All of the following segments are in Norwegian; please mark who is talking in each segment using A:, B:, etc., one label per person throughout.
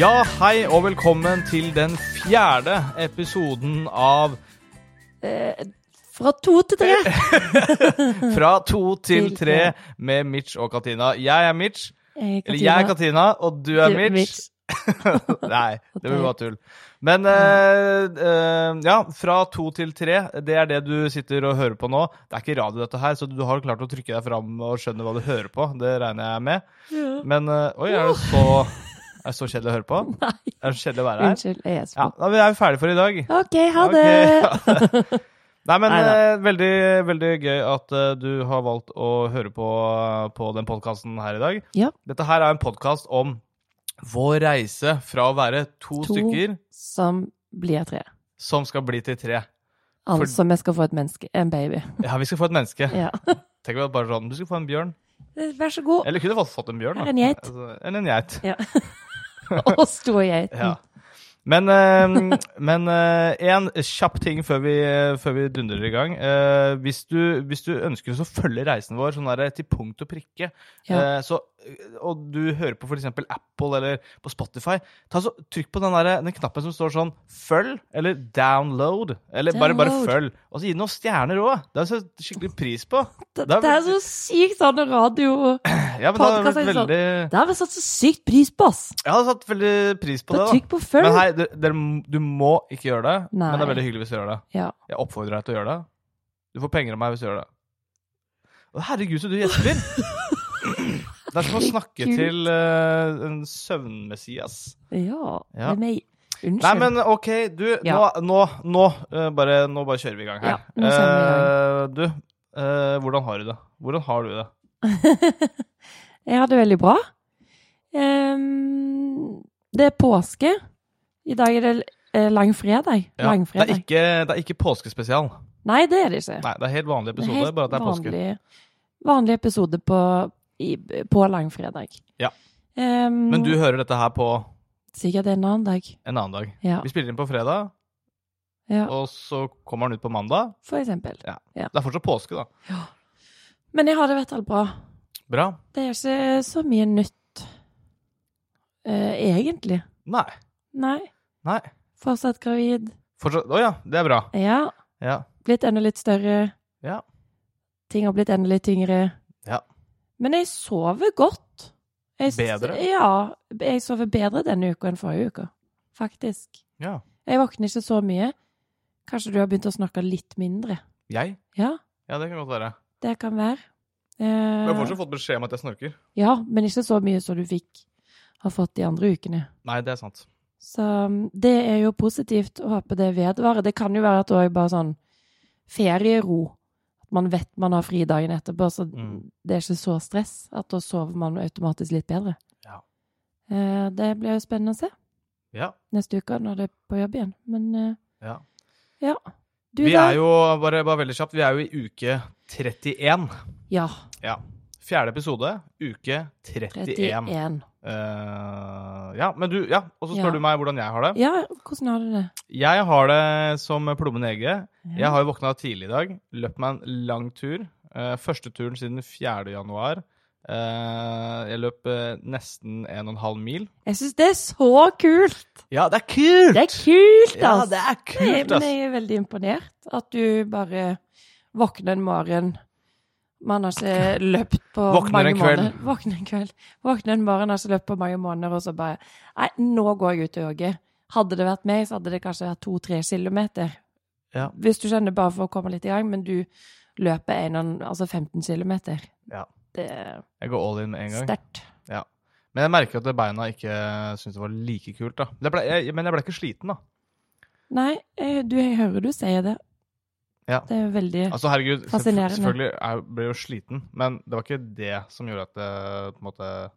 A: Ja, hei og velkommen til den fjerde episoden av
B: Eh, Fra to til
A: Eh,
B: tre.
A: Fra to til
B: Til
A: tre med Mitch og Katina. Jeg er Mitch,
B: Eh,
A: eller jeg er
B: Katina,
A: Katina, og du er
B: du,
A: Mitch. Nei, det blir
B: Ok.
A: bare tull. Men eh, eh, ja, fra to til tre, det er det du sitter og hører på nå. Det er ikke radio, dette her, så du har klart å trykke deg fram og skjønne hva du hører på. Det regner jeg med.
B: Ja.
A: Men eh, oi, er det så, er det så kjedelig å høre på?
B: Nei,
A: Er det så kjedelig å være her?
B: unnskyld. Jeg er
A: Ja,
B: spent.
A: da er vi ferdige for i dag.
B: OK, ha
A: Ok,
B: det.
A: ja. Nei, men
B: Neida.
A: eh, veldig, veldig gøy at eh, du har valgt å høre på, på den podkasten her i dag.
B: Ja.
A: Dette her er en podkast om vår reise fra å være to,
B: To.
A: stykker
B: Som blir tre.
A: som skal bli til tre. For-
B: Altså, vi skal få et menneske. En baby.
A: Ja, vi skal få et menneske.
B: Ja.
A: Tenk om det bare sånn, Du skal få en bjørn.
B: Vær så god.
A: Eller kunne fått, fått en bjørn. da.
B: Eller en geit.
A: Altså, Eller en geit.
B: Og stor geiten.
A: Ja. Men, eh, men eh, en kjapp ting før vi, før vi dundrer i gang. Eh, hvis, du, hvis du ønsker å følge reisen vår sånn der, til punkt og prikke,
B: Ja.
A: eh, så, og du hører på f.eks. Apple eller på Spotify, ta så, trykk på den, der, den knappen som står sånn 'følg' eller 'download'. Eller bare, bare
B: Download.
A: følg. Og så gi den noen stjerner òg. Det setter jeg skikkelig pris på.
B: Det,
A: Da-
B: det er så sykt sånn radio
A: Ja, men da har det
B: Podcast er
A: vært
B: sånn.
A: veldig,
B: Det har vi satt så sykt pris på, ass.
A: jeg hadde satt veldig pris på det.
B: Bare
A: da.
B: trykk på følg.
A: Men hei, du, dere- du må ikke gjøre det.
B: Nei.
A: Men det er veldig hyggelig hvis du gjør det.
B: Ja.
A: Jeg oppfordrer deg til å gjøre det. Du får penger av meg hvis du gjør det. Å, herregud, så du gjesper! Det er som å snakke
B: Herregud.
A: til eh, en søvnmessias.
B: Ja.
A: Ja.
B: Det er meg. Unnskyld.
A: Nei, men OK, du.
B: Ja.
A: Nå, nå, nå, eh, bare, nå bare kjører vi i gang her.
B: Ja, nå kjører vi i
A: Eh, du, eh, hvordan har du det? Hvordan har du det?
B: Jeg har det veldig bra. Ehm, det er påske. I dag er det eh, langfredag.
A: Ja, det, er
B: Langfredag.
A: ikke, det er ikke påskespesial.
B: Nei, det er det ikke.
A: Nei, det er helt vanlig
B: Det er
A: episode,
B: helt
A: bare at det er påske.
B: vanlig, vanlig episode på, i, på langfredag.
A: Ja.
B: Ehm,
A: Men du hører dette her på
B: Sikkert en annen dag.
A: en annen dag.
B: Ja.
A: Vi spiller inn på fredag,
B: ja
A: og så kommer den ut på mandag.
B: for eksempel.
A: Det er fortsatt påske, da.
B: Men jeg har det i hvert fall bra.
A: Bra.
B: Det er ikke eh, så mye nytt. eh, egentlig.
A: Nei.
B: Nei.
A: Nei.
B: Fortsatt gravid.
A: Fortsatt Å ja, det er bra.
B: Ja.
A: Ja.
B: blitt enda litt større.
A: Ja.
B: Ting har blitt enda litt tyngre.
A: Ja.
B: Men jeg sover godt. Jeg s-
A: Bedre?
B: Ja. Jeg sover bedre denne uka enn forrige uke, faktisk.
A: ja.
B: Jeg våkner ikke så mye. Kanskje du har begynt å snakke litt mindre?
A: Jeg?
B: Ja,
A: Ja, det kan godt være.
B: det kan være.
A: Men jeg har
B: Eh,
A: fortsatt fått beskjed om at jeg snorker.
B: ja, men ikke så mye som du fikk har fått de andre ukene.
A: Nei, det er sant.
B: Så um, det er jo positivt å håpe det vedvarer. Det kan jo være at det òg bare sånn feriero. At man vet man har fri dagen etterpå, så
A: Mm.
B: det er ikke så stress. At da sover man automatisk litt bedre.
A: Ja.
B: Eh, Det blir jo spennende å se
A: Ja.
B: neste uke når det er på jobb igjen. Men eh,
A: ja.
B: ja. Du,
A: Vi
B: da?
A: er jo, bare, bare veldig kjapt, vi er jo i uke 31.
B: Ja.
A: Ja. Fjerde episode, uke 31.
B: 31.
A: Eh, ja, men du, ja, og så spør
B: Ja.
A: du meg hvordan jeg har det.
B: Ja, hvordan har du det?
A: Jeg har det som plommen i egget. Jeg har jo våkna tidlig i dag, løpt meg en lang tur. Eh, første turen siden 4. januar. Eh, jeg løp eh, nesten 1,5 mil.
B: Jeg syns det er så kult!
A: Ja, det er kult!
B: Det er kult,
A: Ja,
B: altså!
A: det er
B: Nei,
A: kult,
B: men
A: ass!
B: jeg er veldig imponert at du bare våkner en morgen Man har ikke løpt på
A: Våkner
B: mange
A: en kveld.
B: måneder. Våkner en kveld. Våkner en morgen, har ikke løpt på mange måneder, og så bare Nei, nå går jeg ut og jogger. Hadde det vært meg, så hadde det kanskje vært to-tre kilometer.
A: Ja.
B: Hvis du skjønner, bare for å komme litt i gang, men du løper en, og en- altså 15 kilometer.
A: Ja.
B: Det er
A: Jeg går all in med en gang.
B: sterkt.
A: Men jeg merker at beina ikke syntes det var like kult, da. Men jeg ble, jeg, men jeg ble ikke sliten, da.
B: Nei, eh, du, jeg hører du sier det.
A: Ja.
B: Det er veldig
A: Altså, herregud, selvfø-
B: Fascinerende.
A: selvfølgelig jeg ble jo sliten, men det var ikke det som gjorde at det på en måte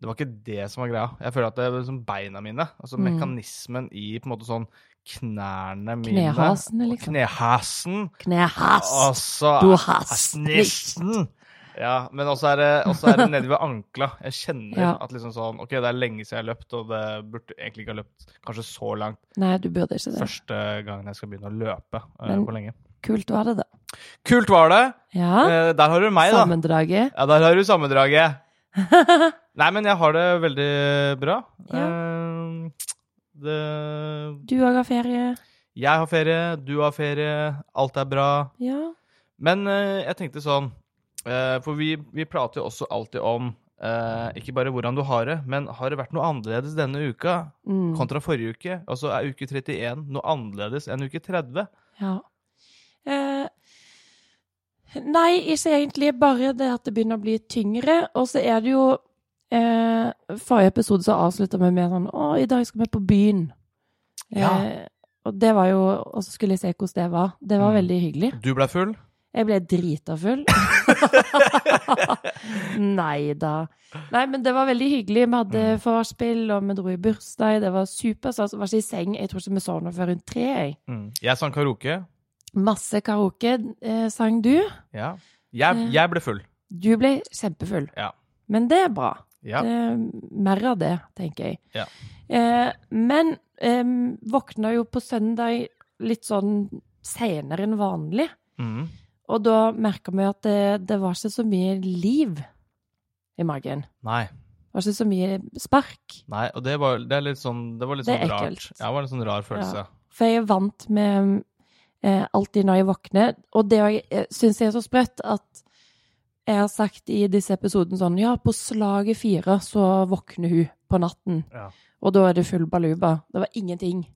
A: Det var ikke det som var greia. Jeg føler at det er liksom beina mine, altså
B: Mm.
A: mekanismen i på en måte sånn knærne mine
B: Knehasene,
A: og
B: liksom.
A: Knehasen.
B: Knehast!
A: Altså
B: Du hast nicht.
A: Nesten! Ja, men også er det, også er det nede ved ankla. Jeg kjenner
B: Ja.
A: at liksom sånn OK, det er lenge siden jeg har løpt, og det burde egentlig ikke ha løpt kanskje så langt
B: Nei, du burde ikke det.
A: første gangen jeg skal begynne å løpe eh,
B: Men-
A: på lenge.
B: Kult var det, da.
A: Kult var det!
B: Ja.
A: Eh, der har du meg, da.
B: Sammendraget.
A: Ja, der har du sammendraget. Nei, men jeg har det veldig bra.
B: Ja.
A: Eh, Det
B: Du òg har ferie.
A: Jeg har ferie, du har ferie, alt er bra.
B: Ja.
A: Men eh, jeg tenkte sånn eh, For vi, vi prater jo også alltid om eh, ikke bare hvordan du har det, men har det vært noe annerledes denne uka
B: Mm.
A: kontra forrige uke? Altså er uke 31 noe annerledes enn uke 30?
B: ja. Eh, nei, ikke egentlig. Bare det at det begynner å bli tyngre. Og så er det jo eh, Forrige episode så avslutta vi med sånn Å, i dag skal vi på byen.
A: Ja.
B: Eh, og det var jo Og så skulle jeg se hvordan det var. Det var
A: Mm.
B: veldig hyggelig.
A: Du ble full?
B: Jeg ble drita full. Nei da. Nei, men det var veldig hyggelig. Vi hadde
A: Mm.
B: vorspiel, og vi dro i bursdag. Det var superstas. Vi var ikke i seng. Jeg tror ikke vi sovna før rundt tre. jeg.
A: Mm. Jeg sang karaoke.
B: Masse karaoke eh, sang du.
A: Ja. Jeg,
B: Ja.
A: jeg ble full.
B: Du ble kjempefull.
A: Ja.
B: Men det er bra.
A: Ja.
B: Eh, mer av det, tenker jeg.
A: Ja.
B: Eh, men eh, våkna jo på søndag litt sånn seinere enn vanlig.
A: Mm.
B: Og da merka vi at det, det var ikke så mye liv i magen.
A: Nei.
B: Det var ikke så mye spark.
A: Nei. Og det var, det er litt sånn Det var litt
B: Det
A: sånn
B: er
A: rart.
B: ekkelt.
A: Ja, det var en sånn rar følelse.
B: For jeg er vant med eh, alltid når jeg våkner. Og det jeg syns er så sprøtt, at jeg har sagt i disse episodene sånn Ja, på slaget fire så våkner hun på natten.
A: Ja.
B: Og da er det full baluba. Det var ingenting.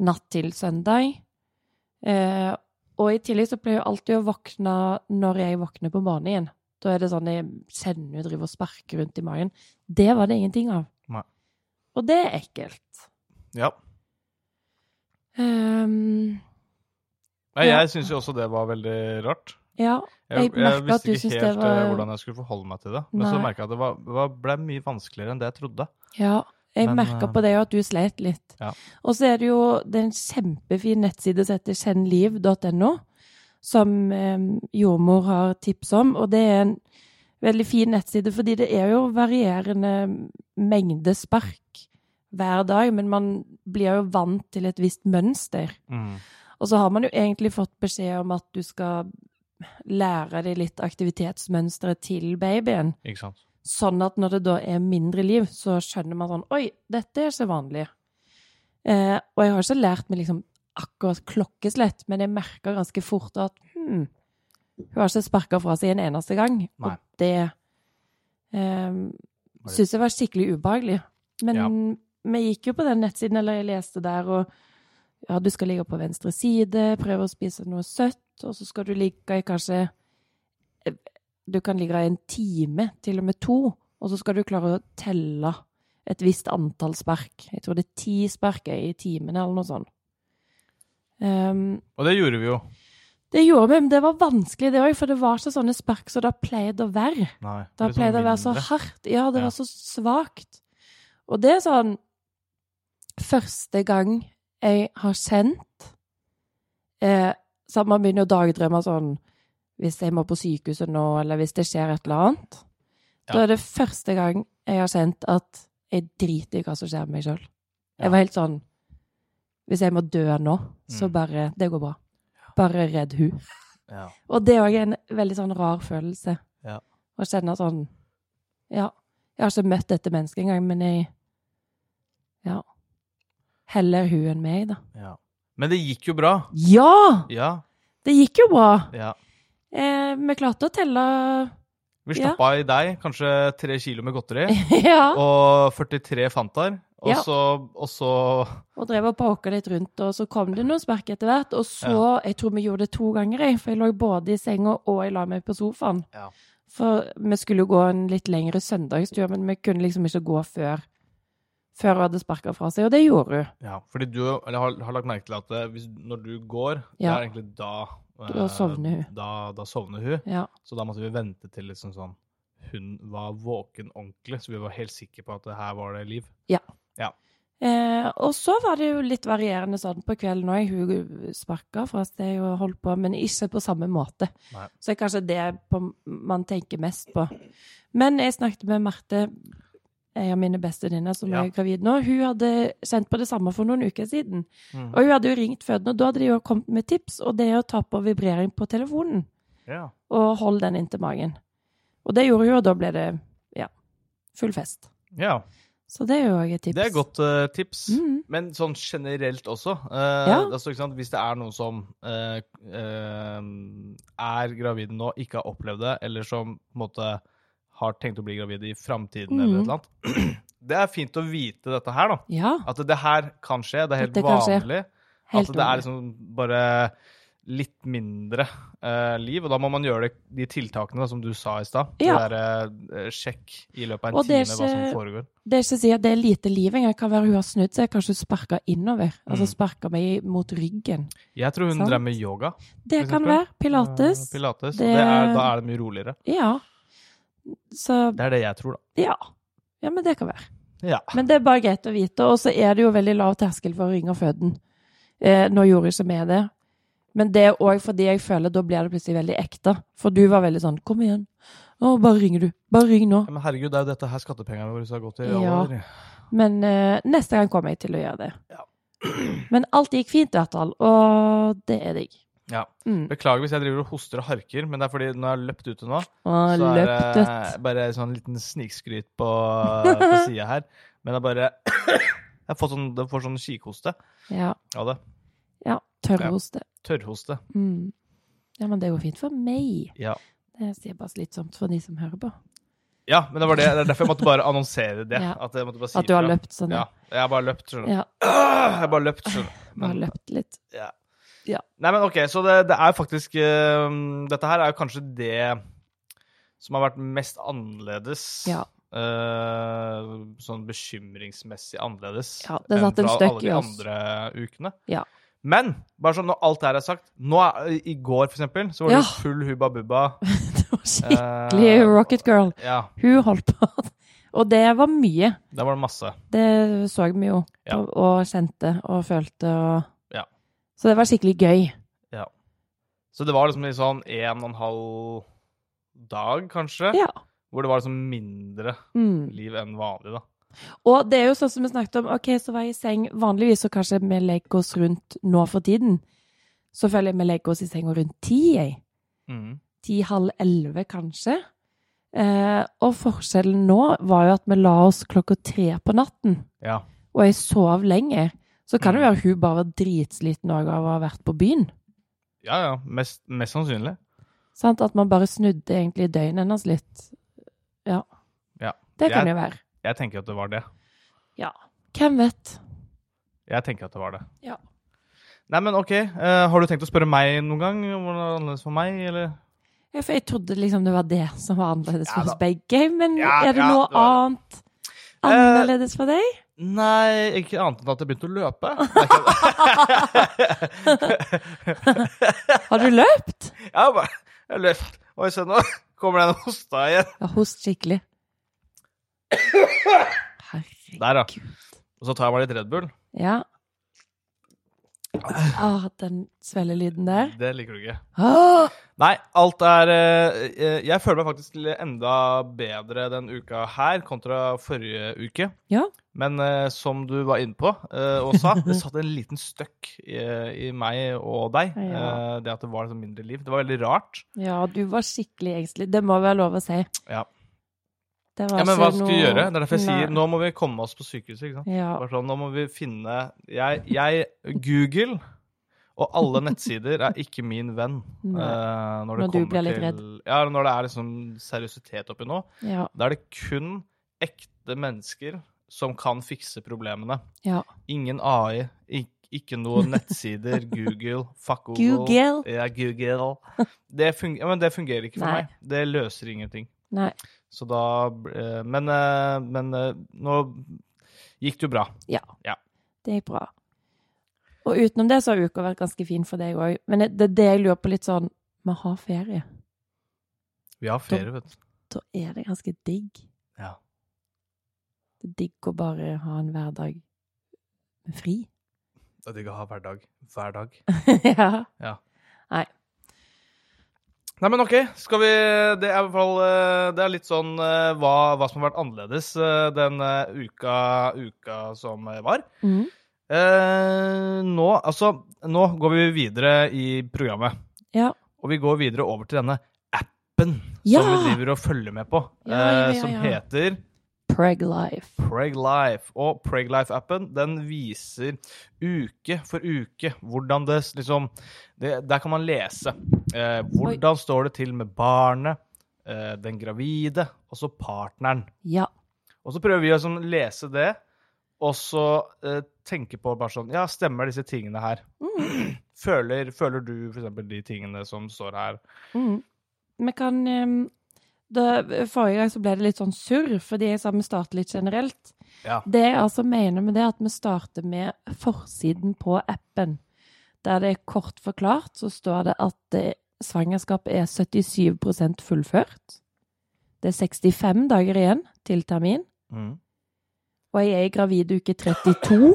B: Natt til søndag. Eh, og i tillegg så pleier jeg alltid å våkne når jeg våkner på morgenen igjen. Da er det sånn jeg kjenner hun driver og sparker rundt i magen. Det var det ingenting av.
A: Nei.
B: Og det er ekkelt.
A: Ja.
B: Ehm,
A: Nei,
B: Ja.
A: jeg syns jo også det var veldig rart.
B: ja.
A: Jeg,
B: Jeg
A: jeg,
B: merker at
A: visste
B: du
A: ikke
B: synes det
A: helt eh,
B: var-
A: hvordan jeg skulle forholde meg til det. Men så
B: Nei.
A: merka jeg at det var, var, ble mye vanskeligere enn det jeg trodde.
B: Ja, jeg
A: Men,
B: merka
A: eh,
B: på det jo at du sleit litt.
A: ja.
B: Og så er det jo det er en kjempefin nettside som heter kjennliv.no, som eh, jordmor har tips om. Og det er en veldig fin nettside, fordi det er jo varierende mengde spark hver dag, men man blir jo vant til et visst mønster.
A: Mm,
B: Og så har man jo egentlig fått beskjed om at du skal lære deg litt aktivitetsmønsteret til babyen.
A: Ikke sant?
B: Sånn at når det da er mindre liv, så skjønner man sånn Oi, dette er ikke vanlig. Eh, og jeg har ikke lært meg liksom akkurat klokkeslett, men jeg merka ganske fort at hm, hun har ikke sparka fra seg en eneste gang.
A: Nei.
B: Og det eh,
A: det-
B: syns jeg var skikkelig ubehagelig. Men
A: Ja.
B: vi gikk jo på den nettsiden, eller jeg leste der, og ja, du skal ligge på venstre side, prøve å spise noe søtt, og så skal du ligge i kanskje eh, du kan ligge i en time, til og med to, og så skal du klare å telle et visst antall spark. Jeg tror det er ti spark i timen, eller noe sånt. Ehm,
A: Og det gjorde vi jo.
B: det gjorde vi, men det var vanskelig det òg, for det var ikke sånne spark som det har pleid å være.
A: Nei.
B: Det har
A: litt sånn
B: pleid å være så
A: mindre.
B: hardt. Ja, det
A: Ja.
B: var så svakt. Og det er sånn Første gang jeg har kjent eh, Så man begynner å dagdrømme sånn Hvis jeg må på sykehuset nå, eller hvis det skjer et eller annet Da
A: Ja.
B: er det første gang jeg har kjent at jeg driter i hva som skjer med meg sjøl.
A: Ja.
B: Jeg var helt sånn Hvis jeg må dø nå, så
A: Mm.
B: bare Det går bra. Bare redd hun.
A: Ja.
B: Og det er òg en veldig sånn rar følelse.
A: Ja.
B: Å kjenne sånn Ja, jeg har ikke møtt dette mennesket engang, men jeg Ja. Heller hun enn meg, da.
A: ja. Men det gikk jo bra.
B: Ja!
A: Ja.
B: Det gikk jo bra.
A: ja.
B: Eh, vi klarte å telle
A: Vi
B: Ja.
A: stappa i deg kanskje tre kilo med godteri
B: Ja.
A: og 43 Fantaer. Og,
B: Ja.
A: så, og så
B: Og drev og poka litt rundt, og så kom det noen spark etter hvert. Og så Jeg tror vi gjorde det to ganger, jeg, for jeg lå både i senga og jeg la meg på sofaen.
A: Ja.
B: For vi skulle jo gå en litt lengre søndagstur, men vi kunne liksom ikke gå før Før hun hadde sparka fra seg, og det gjorde hun.
A: Ja. Fordi du eller, har, har lagt merke til at eh, hvis, når du går, det
B: Ja.
A: er egentlig da eh,
B: Da sovner hun.
A: Da, da sovner hun.
B: Ja.
A: Så da måtte vi vente til liksom sånn hun var våken ordentlig, så vi var helt sikre på at det her var det liv.
B: Eh, og så var det jo litt varierende sånn på kvelden òg. Hun sparka fra seg og holdt på, men ikke på samme måte.
A: Nei.
B: Så det er kanskje det på, man tenker mest på. Men jeg snakket med Marte, en av mine bestevenninner som
A: Ja.
B: er gravid nå. Hun hadde kjent på det samme for noen uker siden.
A: Mm.
B: Og hun hadde jo ringt fødende, og da hadde de jo kommet med tips, og det er å ta på vibrering på telefonen
A: Ja.
B: og holde den inntil magen. Og det gjorde hun, og da ble det ja, full fest.
A: Ja.
B: Så det er jo òg et tips.
A: Det er et godt eh, tips.
B: Mm.
A: Men sånn generelt også. eh,
B: Ja.
A: altså, ikke sant? Hvis det er noen som eh, eh, er gravide nå, ikke har opplevd det, eller som på en måte har tenkt å bli gravid i framtiden eller
B: Mm.
A: et eller annet. Det er fint å vite dette her, da.
B: Ja,
A: At det her kan skje. Det er helt
B: Dette kan skje.
A: vanlig.
B: helt
A: at det er
B: vanlig.
A: liksom bare litt mindre eh, liv. Og da må man gjøre det, de tiltakene da, som du sa i stad.
B: Ja.
A: Det derre eh, sjekk i løpet av
B: Og
A: en
B: det
A: time
B: er
A: hva som
B: ikke-
A: foregår.
B: Det er ikke å si at det er lite liv engang. Kan være hun har snudd seg, kanskje hun sparka innover. Altså
A: Mm.
B: sparka meg mot ryggen.
A: Jeg tror hun
B: Sant.
A: drev med yoga.
B: Det
A: For
B: kan
A: eksempel?
B: være. Pilates.
A: Eh, Pilates.
B: Det-
A: og Det er, da er det mye roligere.
B: Ja. Så
A: Det er det jeg tror, da.
B: ja. Ja, men det kan være.
A: Ja.
B: Men det er bare greit å vite. Og så er det jo veldig lav terskel for å ringe og føde den. Eh, nå gjorde jeg ikke med det. Men det er òg fordi jeg føler da blir det plutselig veldig ekte. For du var veldig sånn 'kom igjen', å, bare ringer du. Bare ring nå.
A: Ja, Men herregud, det er jo dette her skattepengene våre har gått til. i alle
B: Ja.
A: år.
B: Men eh, neste gang kommer jeg til å gjøre det.
A: Ja.
B: Men alt gikk fint i hvert fall, og det er digg.
A: Ja.
B: Mm.
A: Beklager hvis jeg driver og hoster og harker, men det er fordi når jeg har løpt ute nå,
B: Og
A: så er
B: løpt
A: det
B: dødt.
A: bare sånn liten snikskryt på, på sida her. Men jeg bare Jeg får sånn, jeg får sånn kikhoste
B: Ja.
A: av det.
B: ja Tørrhoste.
A: Tørrhoste.
B: Mm. Ja, men det går fint for meg.
A: Ja.
B: Det sier bare slitsomt for de som hører på.
A: ja, men det var det. Det er derfor jeg måtte bare annonsere det.
B: Ja.
A: At, jeg måtte bare si
B: At du har
A: ifra.
B: løpt sånn.
A: Ja. Jeg har bare løpt, skjønner du.
B: ja.
A: Jeg har bare løpt, skjønner du.
B: Bare
A: Men-
B: løpt litt.
A: Nei, men ok, så det, det er faktisk eh, Dette her er jo kanskje det som har vært mest annerledes.
B: Ja.
A: eh, sånn bekymringsmessig annerledes
B: Ja, det satt en
A: fra
B: støkk
A: alle
B: i
A: de
B: oss.
A: andre ukene.
B: Ja.
A: Men bare sånn når alt det her er sagt nå er, I går, for eksempel, så var
B: Ja.
A: det full hubba bubba.
B: Det
A: eh,
B: var skikkelig Rocket Girl.
A: Ja,
B: Hun holdt på. Og det var mye.
A: der var det masse.
B: Det så vi jo,
A: Ja.
B: og, og kjente og følte og
A: Ja.
B: Så det var skikkelig gøy.
A: Så det var liksom i sånn en og en halv dag, kanskje,
B: Ja.
A: hvor det var liksom mindre
B: Mm.
A: liv enn vanlig, da.
B: Og det er jo sånn som vi snakket om, ok, så var jeg i seng. Vanligvis så kanskje vi legger oss rundt nå for tiden. Så føler jeg vi legger oss i senga rundt ti, jeg.
A: Mm.
B: Ti-halv elleve, kanskje. Eh, og forskjellen nå var jo at vi la oss klokka tre på natten,
A: Ja.
B: og jeg sov lenge. Så kan det
A: Mm.
B: være hun bare var dritsliten også av å ha vært på byen.
A: Ja, ja. Mest, mest sannsynlig.
B: Sant? At man bare snudde egentlig døgnet hennes litt. Ja.
A: Ja.
B: Det kan
A: Jeg-
B: jo være.
A: Jeg tenker at det var det.
B: Hvem vet?
A: Jeg tenker at det var det.
B: Ja.
A: Nei, men ok. eh, har du tenkt å spørre meg noen gang om hvordan det er annerledes for meg, eller?
B: Ja, for jeg trodde liksom det var det som var annerledes
A: Ja
B: for
A: da.
B: oss begge, men
A: Ja,
B: er det
A: ja,
B: noe
A: det var
B: annet annerledes for deg?
A: Nei, ikke annet enn at jeg begynte å løpe. Det er ikke-
B: Har
A: Eh.
B: du løpt?
A: Jeg har bare jeg løp. Oi, se nå kommer den hosta igjen.
B: Ja, host skikkelig. Herregud.
A: Der, ja. Og så tar jeg meg litt Red Bull.
B: Ja. Ah, den svellelyden der.
A: Det liker du ikke.
B: Ah,
A: Nei, alt er eh, eh, Jeg føler meg faktisk l- enda bedre den uka her kontra forrige uke.
B: Ja.
A: Men eh, som du var inne på eh, og sa, det satt en liten støkk i, i meg og deg.
B: Ja.
A: eh, det at det var liksom mindre liv. Det var veldig rart.
B: ja, du var skikkelig engstelig. Det må være lov å si.
A: Ja.
B: Det var
A: Ja, Men
B: ikke
A: hva skal vi
B: noe-
A: gjøre? Det er derfor jeg sier
B: Nei.
A: nå må vi komme oss på sykehuset. ikke sant?
B: Ja.
A: Bare sånn, nå må vi finne Jeg, jeg Google og alle nettsider er ikke min venn.
B: Nei.
A: eh, når det
B: Når du
A: kommer
B: blir litt
A: til-
B: redd.
A: Ja, når det er liksom seriøsitet oppi nå.
B: Ja.
A: Da er det kun ekte mennesker som kan fikse problemene.
B: ja.
A: Ingen AI, ikke, ikke noen nettsider, Google, fuck Google.
B: Google.
A: Ja, Google. Det funger, ja, men det fungerer ikke for
B: Nei.
A: meg. Det løser ingenting.
B: Nei.
A: Så da eh, Men, eh, men eh, nå gikk det jo bra.
B: Ja.
A: Ja.
B: Det gikk bra. Og utenom det så har uka vært ganske fin for deg òg. Men det er det jeg lurer på litt sånn Vi har ferie.
A: Vi har ferie, vet du.
B: Da er det ganske digg.
A: Ja.
B: Det er digg å bare ha en hverdag med fri.
A: Det er digg å ha hverdag. Hver dag.
B: ja.
A: Nei, men ok. Skal vi Det er i hvert fall eh, Det er litt sånn eh, hva, hva som har vært annerledes eh, den eh, uka, uka som eh, var.
B: Mm.
A: Eh, nå, altså, nå går vi videre i programmet.
B: Ja.
A: Og vi går videre over til denne appen
B: Ja!
A: som vi driver og følger med på.
B: Ja, ja,
A: eh,
B: ja,
A: som
B: ja.
A: heter
B: Preglife.
A: Preglife. Og Preglife-appen den viser uke for uke hvordan det s- liksom det, Der kan man lese. Eh, hvordan står det til med barnet, eh, den gravide, og så partneren.
B: Ja.
A: Og så prøver vi å sånn, lese det, og så eh, tenke på bare sånn Ja, stemmer disse tingene her? Føler, føler du for eksempel de tingene som står her?
B: Mm. Vi kan ehm, da, Forrige gang så ble det litt sånn surr, fordi jeg sa vi starter litt generelt.
A: Ja.
B: Det jeg altså mener med det, er at vi starter med forsiden på appen. Der det er kort forklart, så står det at eh, svangerskapet er 77 fullført. Det er 65 dager igjen til termin.
A: Mm.
B: Og jeg er i gravid uke 32.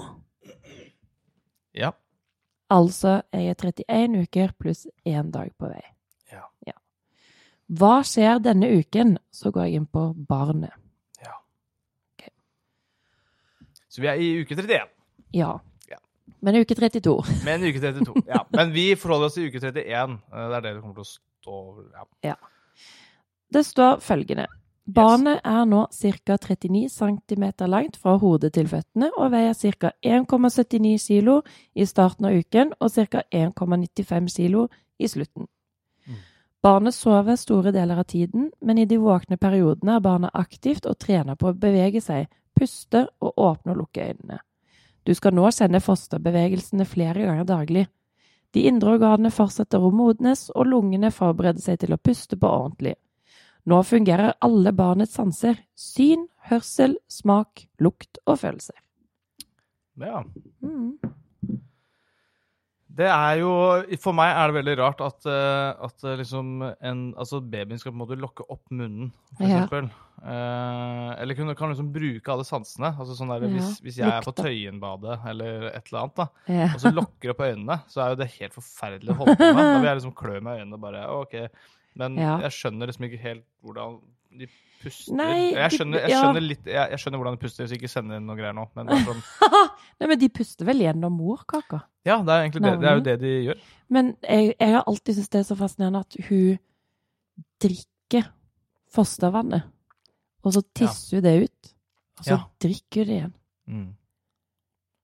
A: Ja.
B: Altså jeg er 31 uker pluss én dag på vei.
A: Ja.
B: Hva skjer denne uken? Så går jeg inn på barnet.
A: Så vi er i uke 31.
B: Ja.
A: Ja.
B: Men uke 32.
A: Men uke 32. Ja. Men vi forholder oss til uke 31. Eh, Det er det det kommer til å stå ja.
B: Det står følgende. Barnet er nå ca. 39 cm langt fra hodet til føttene og veier ca. 1,79 kg i starten av uken og ca. 1,95 kg i slutten.
A: Mm.
B: Barnet sover store deler av tiden, men i de våkne periodene er barnet aktivt og trener på å bevege seg, puste og åpne og lukke øynene. Du skal nå kjenne fosterbevegelsene flere ganger daglig. De indre organene fortsetter å modnes, og lungene forbereder seg til å puste på ordentlig. Nå fungerer alle barnets sanser – syn, hørsel, smak, lukt og følelser.
A: ja. Mm. Det er jo For meg er det veldig rart at, eh, at eh, liksom en Altså babyen skal på en måte lokke opp munnen, for
B: Ja.
A: eksempel. Eh, eller kunne, kan liksom bruke alle sansene. Altså sånn der,
B: Ja.
A: hvis, hvis jeg er på
B: Lukta.
A: Tøyenbadet eller et eller annet, da,
B: Ja.
A: og så lokker opp øynene, så er jo det helt forferdelig å holde på med. Da vil jeg liksom klø meg i øynene og bare OK. Men
B: Ja.
A: jeg skjønner liksom ikke helt hvordan de puster.
B: Nei,
A: jeg,
B: de-
A: skjønner, jeg,
B: ja.
A: skjønner litt, jeg, jeg skjønner hvordan de puster, hvis jeg ikke sender inn noe greier nå. Men det er sånn,
B: Nei, men de puster vel gjennom morkaka.
A: ja, det er egentlig det, det, er jo det de gjør.
B: Men jeg, jeg har alltid syntes det er så fascinerende at hun drikker fostervannet, og så tisser hun det ut, og så
A: Ja.
B: drikker hun det igjen.
A: Mm.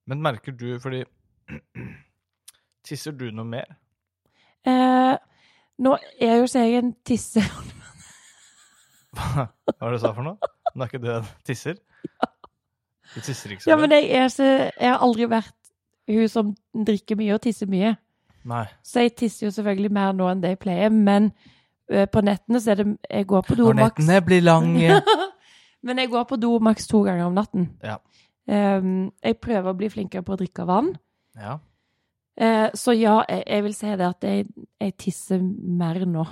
A: Men merker du, fordi Tisser du noe mer?
B: Eh, nå er jo ikke jeg en tisse...
A: Hva var det du sa for noe? Men er ikke det tisser? Du tisser ikke så
B: Ja,
A: mye?
B: men jeg, er ikke, jeg har aldri vært hun som drikker mye og tisser mye.
A: Nei.
B: Så jeg tisser jo selvfølgelig mer nå enn det jeg pleier, men ø, på nettene så er det Jeg går på do
A: Når
B: maks
A: nettene blir lange
B: Men jeg går på do maks to ganger om natten.
A: Ja.
B: Ehm, jeg prøver å bli flinkere på å drikke vann.
A: Ja.
B: Eh, så ja, jeg, jeg vil si det at jeg, jeg tisser mer nå.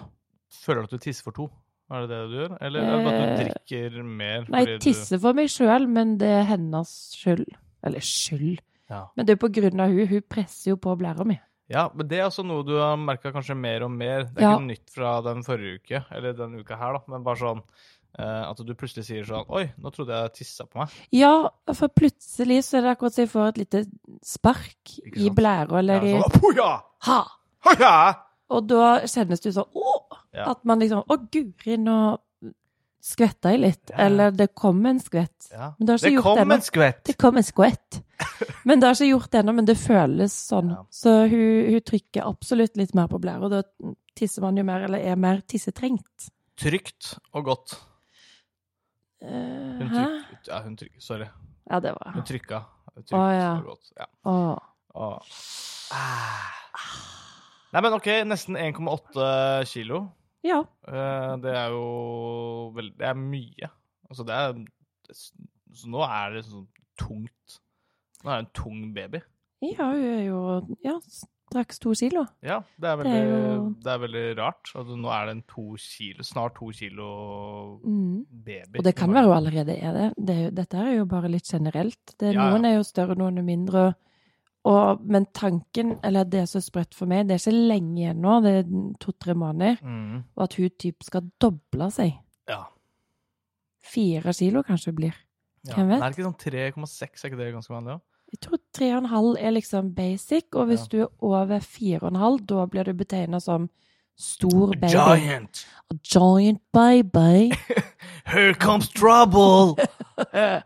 A: Føler du at du tisser for to? Er det det du gjør? Eller er det bare at du
B: Eh,
A: drikker mer?
B: Nei,
A: fordi
B: jeg tisser for meg sjøl, men det er hennes skyld. Eller skyld
A: Du... Ja.
B: Men det er jo på grunn av hun. Hun presser jo på blæra mi.
A: ja, men det er også noe du har merka kanskje mer og mer. Det er
B: Ja.
A: ikke noe nytt fra den forrige uke, eller den uka her, da, men bare sånn eh, at du plutselig sier sånn Oi, nå trodde jeg tissa på meg.
B: Ja, for plutselig så er det akkurat som jeg får et lite spark
A: Ikke
B: i
A: sant?
B: blæra, eller i
A: Ja, sånn, «Poja!
B: Ha!
A: Hoja!
B: Og da kjennes det jo sånn Å!
A: Ja.
B: At man liksom Å, guri, nå skvetta jeg litt.
A: Ja, ja.
B: Eller det kom en skvett.
A: Ja.
B: Men det har
A: Det
B: ikke Altså, gjort
A: kom
B: ennå.
A: en skvett!
B: Det kom en skvett. Men det har ikke gjort det ennå, men det føles sånn.
A: Ja.
B: Så hun, hun trykker absolutt litt mer på blæra, og da tisser man jo mer, eller er mer tissetrengt.
A: Trygt og godt.
B: Eh,
A: Hun
B: hæ?
A: tryk, ja, hun tryk, sorry.
B: Ja, det
A: Hun
B: var
A: trykka. Trygt
B: Å, ja.
A: og godt. Ja.
B: Å.
A: Å. Nei, men OK, nesten 1,8 kilo.
B: Ja.
A: Eh, Det er jo vel, Det er mye. Altså, det er Så nå er det sånn tungt. Nå er det en tung baby.
B: Ja, hun er jo ja, straks to kilo.
A: Ja, det er
B: Det er
A: veldig, det er
B: jo-
A: veldig rart. Altså, nå er det en to kilo, snart to kilo
B: Mm.
A: baby.
B: Og det kan være hun allerede er det. det er jo, dette er jo bare litt generelt. Det,
A: Ja, ja.
B: Noen er jo større, noen er mindre. Og, men tanken, eller det som er sprøtt for meg, det er ikke lenge igjen nå, det er to-tre måneder,
A: mm,
B: og at hun typ skal doble seg.
A: Ja.
B: Fire kilo kanskje hun blir.
A: ja.
B: Hvem vet?
A: Det er ikke sånn 3,6, er ikke det ganske vanlig? Ja?
B: Jeg tror tre og en halv er liksom basic, og hvis
A: Ja.
B: du er over fire og en halv, da blir du betegnet som stor baby.
A: Giant!
B: Giant baby.
A: Here comes trouble!
B: Eh,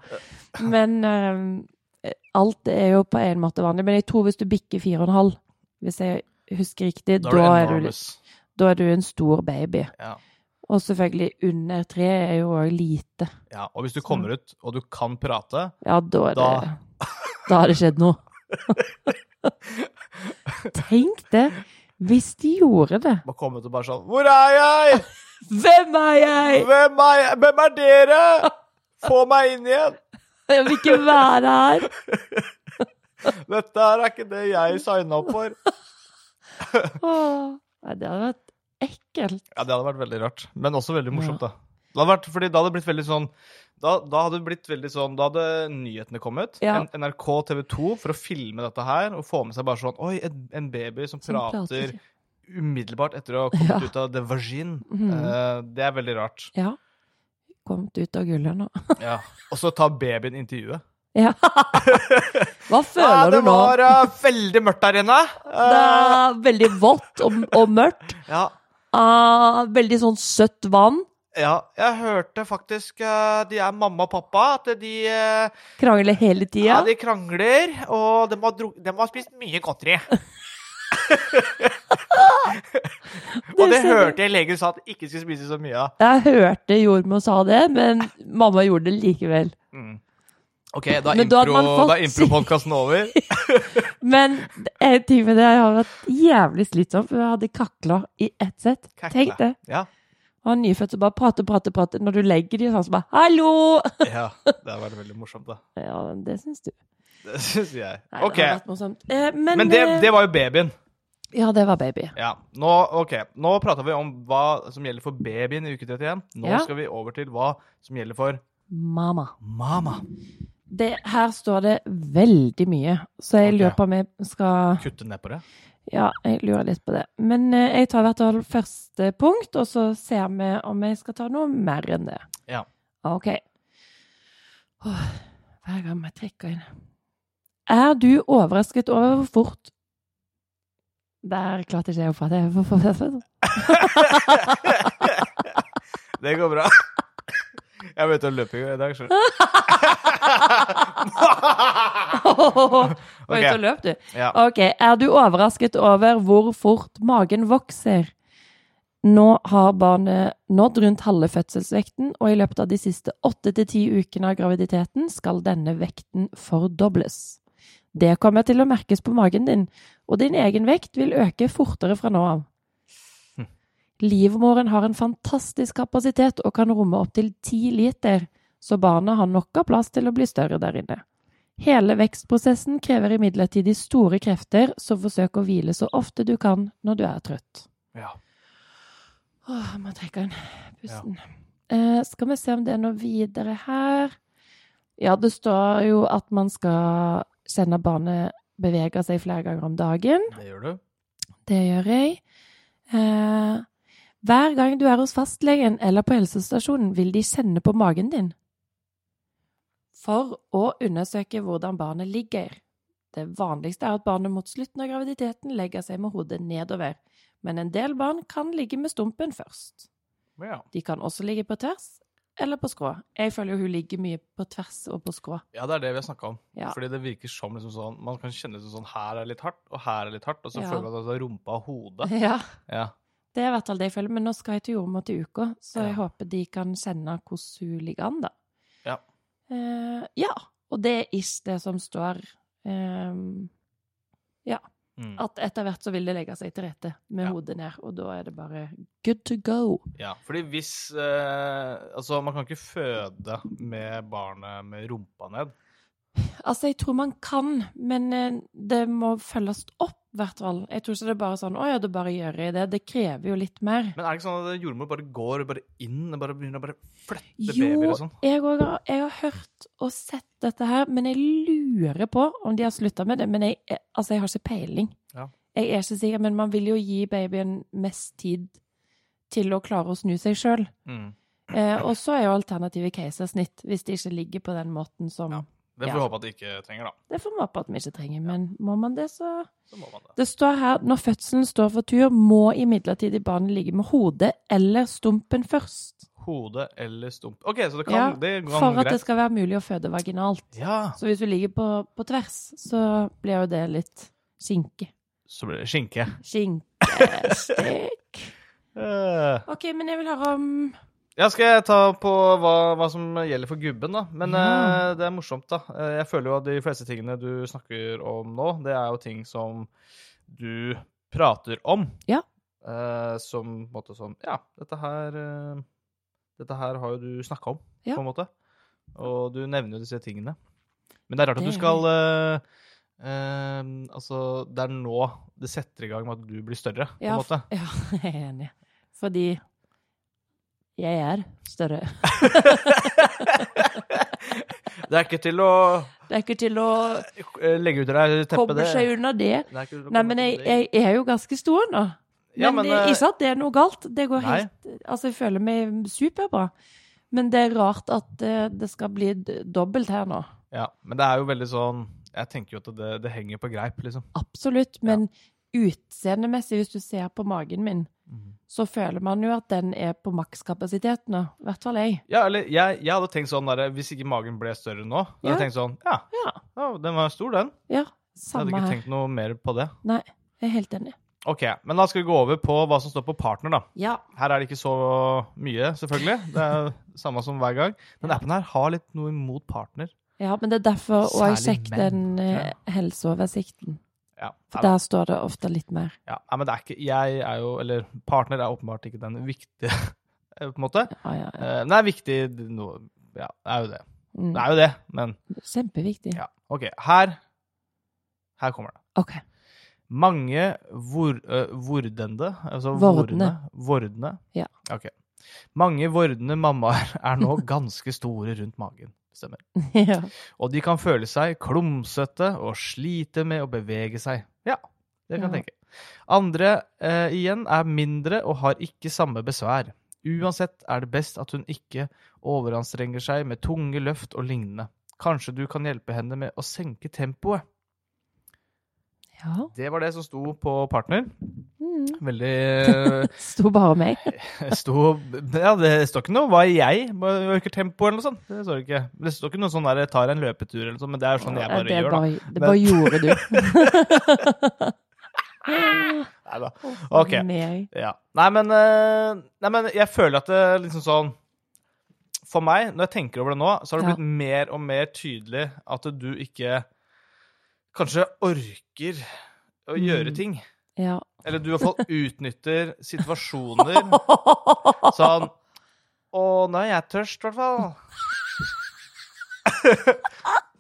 B: Men eh, alt er jo på en måte vanlig. Men jeg tror hvis du bikker 4,5, hvis jeg husker riktig, da, er, du,
A: enormous.
B: da er du en stor baby.
A: Ja.
B: Og selvfølgelig under tre er jo òg lite.
A: ja. Og hvis du kommer ut, og du kan prate
B: Ja, da er
A: Da-
B: det Da har det skjedd noe. Tenk det! Hvis de gjorde det.
A: Bare komme ut og bare sånn Hvor er jeg?
B: Hvem er jeg?
A: Hvem er, jeg? Hvem er dere? Få meg inn igjen!
B: Jeg vil ikke være her.
A: Dette her er ikke det jeg signa opp for.
B: Åh. Nei, det hadde vært ekkelt.
A: Ja, Det hadde vært veldig rart, men også veldig morsomt. Da Det hadde vært, fordi da hadde det blitt veldig sånn da, da hadde det blitt veldig sånn, da hadde nyhetene kommet.
B: Ja.
A: N- NRK TV 2 for å filme dette her og få med seg bare sånn Oi, en, en baby som,
B: Som
A: prater umiddelbart etter å ha kommet
B: Ja.
A: ut av the vagin.
B: Mhm.
A: Eh, det er veldig rart.
B: Ja. Kommet ut av gullet nå.
A: Ja. Og så tar babyen intervjuet.
B: Ja. Hva
A: Ja,
B: føler
A: det
B: du nå?
A: var eh, veldig mørkt der inne.
B: Det
A: Eh,
B: er veldig vått og, og mørkt.
A: ja,
B: Ah, veldig sånn søtt vann.
A: ja, jeg hørte faktisk eh, de er mamma og pappa, at de eh,
B: Krangler hele
A: Ja,
B: tida.
A: de krangler, og de har, dru- de har spist mye godteri. og det
B: ser du.
A: hørte jeg legen sa at ikke skulle spise så mye av.
B: Jeg hørte jordmor sa det, men mamma gjorde det likevel.
A: Mm. OK, da er
B: Men da hadde man fått si-
A: impro-podkasten over.
B: Men en ting med det har vært jævlig slitsomt, for jeg hadde kakla i ett sett.
A: Kakla.
B: Tenk det.
A: Ja,
B: Og en nyfødt som bare prater, prater, prater. Når du legger de sånn, så bare 'hallo'!
A: ja, det har vært veldig morsomt, da.
B: Ja, det syns du.
A: Det syns jeg.
B: Nei,
A: OK.
B: Det har vært morsomt. Eh, men
A: Men det,
B: eh,
A: det var jo babyen.
B: Ja, det var baby.
A: Ja, Nå, ok, nå prata vi om hva som gjelder for babyen i uke 31. Nå
B: Ja.
A: skal vi over til hva som gjelder for
B: Mamma.
A: mamma.
B: Det, her står det veldig mye, så jeg
A: Ok.
B: lurer på om jeg skal
A: Kutte ned på det.
B: Ja, jeg lurer litt på det. Men eh, jeg tar hvert fall første punkt, og så ser vi om jeg skal ta noe mer enn det.
A: Ja.
B: OK. Åh, hver gang jeg trekker inn Er du overrasket over hvor fort Der klarte ikke jeg å prate. Jeg får- får- får-
A: Det går bra. Jeg vet om løping i dag, skjønner du.
B: får- Oi,
A: Ok,
B: da løp du.
A: ja.
B: OK. Er du overrasket over hvor fort magen vokser? Nå har barnet nådd rundt halve fødselsvekten, og i løpet av de siste åtte til ti ukene av graviditeten skal denne vekten fordobles. Det kommer til å merkes på magen din, og din egen vekt vil øke fortere fra nå av.
A: Hm.
B: Livmoren har en fantastisk kapasitet og kan romme opptil ti liter, så barnet har nok av plass til å bli større der inne. Hele vekstprosessen krever imidlertid de store krefter, så forsøk å hvile så ofte du kan når du er trøtt.
A: ja.
B: Åh, jeg må trekke inn pusten. Eh, skal vi se om det er noe videre her Ja, det står jo at man skal kjenne barnet bevege seg flere ganger om dagen.
A: Det gjør du.
B: Det gjør jeg. Eh, hver gang du er hos fastlegen eller på helsestasjonen, vil de kjenne på magen din. For å undersøke hvordan barnet ligger. Det vanligste er at barnet mot slutten av graviditeten legger seg med hodet nedover, men en del barn kan ligge med stumpen først.
A: Ja.
B: De kan også ligge på tvers eller på skrå. Jeg føler jo hun ligger mye på tvers og på skrå.
A: ja, det er det vi har snakka om.
B: Ja.
A: Fordi det virker som liksom sånn Man kan kjenne det som sånn her er litt hardt, og her er litt hardt, og så
B: Ja.
A: føler man at det er rumpa og hodet.
B: Ja.
A: Ja.
B: Det er i hvert fall det jeg føler, men nå skal jeg til jordmor til uka, så jeg
A: Ja.
B: håper de kan sende hvordan hun ligger an, da.
A: Ja.
B: Eh, ja. Og det er ikke det som står eh,
A: Mm.
B: At etter hvert så vil det legge seg til rette med
A: Ja.
B: hodet ned, og da er det bare good to go.
A: ja. Fordi hvis eh, Altså, man kan ikke føde med barnet med rumpa ned.
B: Altså, jeg tror man kan, men eh, det må følges opp, i hvert fall. Jeg tror ikke det er bare sånn 'Å ja, da bare gjør jeg det'. Det krever jo litt mer.
A: Men er det ikke sånn at jordmor bare går bare inn og bare begynner å bare flette babyer
B: Jo,
A: og sånn?
B: jeg, også har, jeg har hørt og sett dette her, men jeg lurer på om de har slutta med det. Men jeg, jeg- altså, jeg har ikke peiling.
A: Ja.
B: Jeg er ikke sikker, men man vil jo gi babyen mest tid til å klare å snu seg sjøl.
A: Mm.
B: Eh, og så er jo alternativet keisersnitt, hvis det ikke ligger på den måten som
A: Ja. Det får
B: Ja.
A: vi håpe at de ikke trenger, da.
B: Det får vi håpe at vi ikke trenger, men må man det, så
A: Så må man det.
B: Det står her når fødselen står for tur, må imidlertid barnet ligge med hodet eller stumpen først.
A: hode eller stump. OK, så det kan,
B: Ja,
A: det kan
B: For at det
A: greit.
B: skal være mulig å føde vaginalt.
A: Ja,
B: Så hvis du ligger på, på tvers, så blir jo det litt skinke.
A: så blir det skinke.
B: Skinkestek.
A: Eh,
B: OK, men jeg vil høre om
A: Ja, skal jeg ta på hva, hva som gjelder for gubben, da. Men
B: Ja.
A: eh, det er morsomt, da. Eh, jeg føler jo at de fleste tingene du snakker om nå, det er jo ting som du prater om.
B: Ja.
A: Eh, som på en måte sånn Ja, dette her eh, Dette her har jo du snakka om,
B: Ja.
A: på en måte. Og du nevner jo disse tingene. Men det er rart at
B: Det
A: du
B: er
A: skal eh, eh, Altså, det er nå det setter i gang med at du blir større, på
B: Ja,
A: en måte.
B: Ja, jeg er enig. Fordi jeg er større.
A: Det er ikke til å
B: Det er ikke til å
A: eh, legge ut deg teppet,
B: komme
A: det.
B: seg unna det.
A: Det er ikke- det
B: Nei,
A: kommer
B: men jeg,
A: til å bli-
B: jeg er jo ganske stor nå. Men,
A: Ja, men,
B: det,
A: eh,
B: ikke at det er noe galt. Det går
A: nei.
B: helt Altså, jeg føler meg superbra. Men det er rart at eh, det skal bli d- dobbelt her nå.
A: ja, men det er jo veldig sånn Jeg tenker jo at det, det henger på greip, liksom.
B: Absolutt. Men utseendemessig, hvis du ser på magen min,
A: Mm.
B: så føler man jo at den er på makskapasitet nå. I hvert fall jeg.
A: Ja, eller jeg, jeg hadde tenkt sånn der, Hvis ikke magen ble større nå, da hadde
B: Ja.
A: jeg tenkt sånn Ja,
B: Ja.
A: ja, den var stor, den. Jeg
B: ja
A: hadde
B: samme
A: ikke
B: her.
A: tenkt noe mer på det.
B: Nei, jeg er helt enig.
A: OK, men da skal vi gå over på hva som står på partner, da.
B: Ja.
A: Her er det ikke så mye, selvfølgelig. Det er jo samme som hver gang. Den appen her har litt noe imot partner.
B: Ja, men det er derfor og jeg
A: Særlig
B: sjekker den
A: menn,
B: eh,
A: ja.
B: helseoversikten.
A: Ja,
B: For
A: nei,
B: der står det ofte litt mer.
A: ja, nei, men det er ikke Jeg er jo Eller partner er åpenbart ikke den viktige, på en måte.
B: Ja, ja, ja.
A: Eh, Men det er viktig nå. Ja, det er jo det.
B: Mm.
A: Det er jo det, men
B: Kjempeviktig.
A: ja. OK, her Her kommer det.
B: OK.
A: Mange vor, ø, vordende altså
B: Vordende.
A: vorne- Vordende.
B: Ja.
A: Ok. Mange vordende mammaer er nå ganske store rundt magen. Stemmer.
B: ja.
A: Og de kan føle seg klumsete og slite med å bevege seg. Ja, det kan jeg
B: Ja.
A: tenke. Andre eh, igjen er mindre og har ikke samme besvær. Uansett er det best at hun ikke overanstrenger seg med tunge løft og lignende. Kanskje du kan hjelpe henne med å senke tempoet.
B: ja.
A: Det var det som sto på partner.
B: Mm.
A: Veldig eh,
B: Sto bare meg.
A: sto, Ja, det står ikke noe 'hva er jeg?' Bare Øker tempoet eller noe sånt. Det står ikke. Det står ikke noe sånn der 'tar en løpetur' eller noe sånt, men det er sånn jeg
B: Ja,
A: bare
B: det
A: gjør, da.
B: bare, det bare gjorde du.
A: Neida.
B: Å,
A: Ok.
B: meg.
A: Ja. Nei, men, eh, nei, men jeg føler at det liksom sånn For meg, når jeg tenker over det nå, så har det
B: Ja.
A: blitt mer og mer tydelig at du ikke kanskje orker å gjøre
B: Mm.
A: ting.
B: Ja.
A: Eller du i hvert fall utnytter situasjoner sånn Å, nå er jeg tørst, i hvert fall.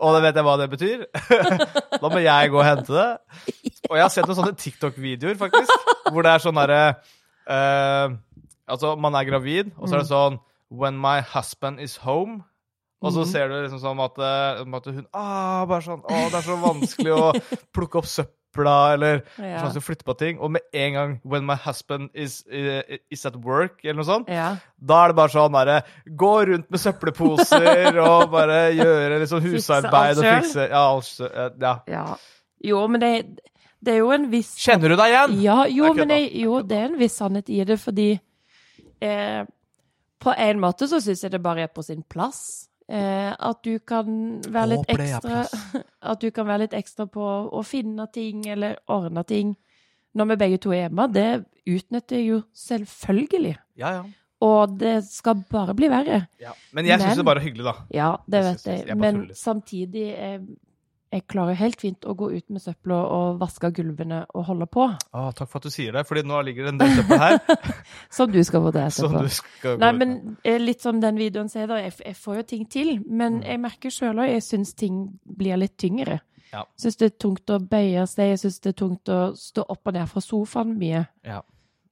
A: og da vet jeg hva det betyr. da må jeg gå og hente det. Og jeg har sett noen sånne TikTok-videoer, faktisk, hvor det er sånn herre eh, Altså, man er gravid, og så er det sånn When my husband is home. Og så
B: Mhm.
A: ser du liksom sånn at, eh, at hun ah, bare sånn, Å, det er så vanskelig å plukke opp søpla, eller
B: Ja.
A: sånn som flytte på ting. Og med en gang When my husband is, eh, is at work, eller noe sånt,
B: ja.
A: da er det bare sånn derre Gå rundt med søppelposer og bare gjøre litt sånn
B: Fikse alt
A: husarbeid og
B: selv.
A: fikse Ja, alt sjøl. Ja.
B: ja. Jo, men det, det er jo en viss
A: Kjenner du deg igjen?
B: Ja, jo,
A: Jeg kødda.
B: men jeg, jo, det er en viss sannhet i det, fordi eh, på en måte så syns jeg det bare er på sin plass. Eh, at du kan være litt
A: Håper det er
B: ekstra At du kan være litt ekstra på å finne ting eller ordne ting når vi begge to er hjemme. Det utnytter jeg jo selvfølgelig.
A: Ja, ja.
B: Og det skal bare bli verre.
A: ja. Men jeg syns
B: Men-
A: det bare er hyggelig, da.
B: Ja, det
A: Jeg
B: vet
A: synes-
B: jeg.
A: jeg bare
B: Men
A: tuller.
B: samtidig jeg, jeg klarer helt fint å gå ut med søpla og vaske gulvene og holde på.
A: Å, takk for at du sier det, fordi nå ligger det en del søppel her
B: Som du skal få det
A: som
B: etterpå.
A: du skal gå
B: Nei,
A: ut
B: men
A: med.
B: eh, litt som den videoen sier, da. Jeg, f- jeg får jo ting til, men
A: Mm.
B: jeg merker sjøl òg jeg syns ting blir litt tyngre.
A: Ja.
B: Syns det er tungt å bøye seg, jeg syns det er tungt å stå opp og ned fra sofaen mye.
A: Ja.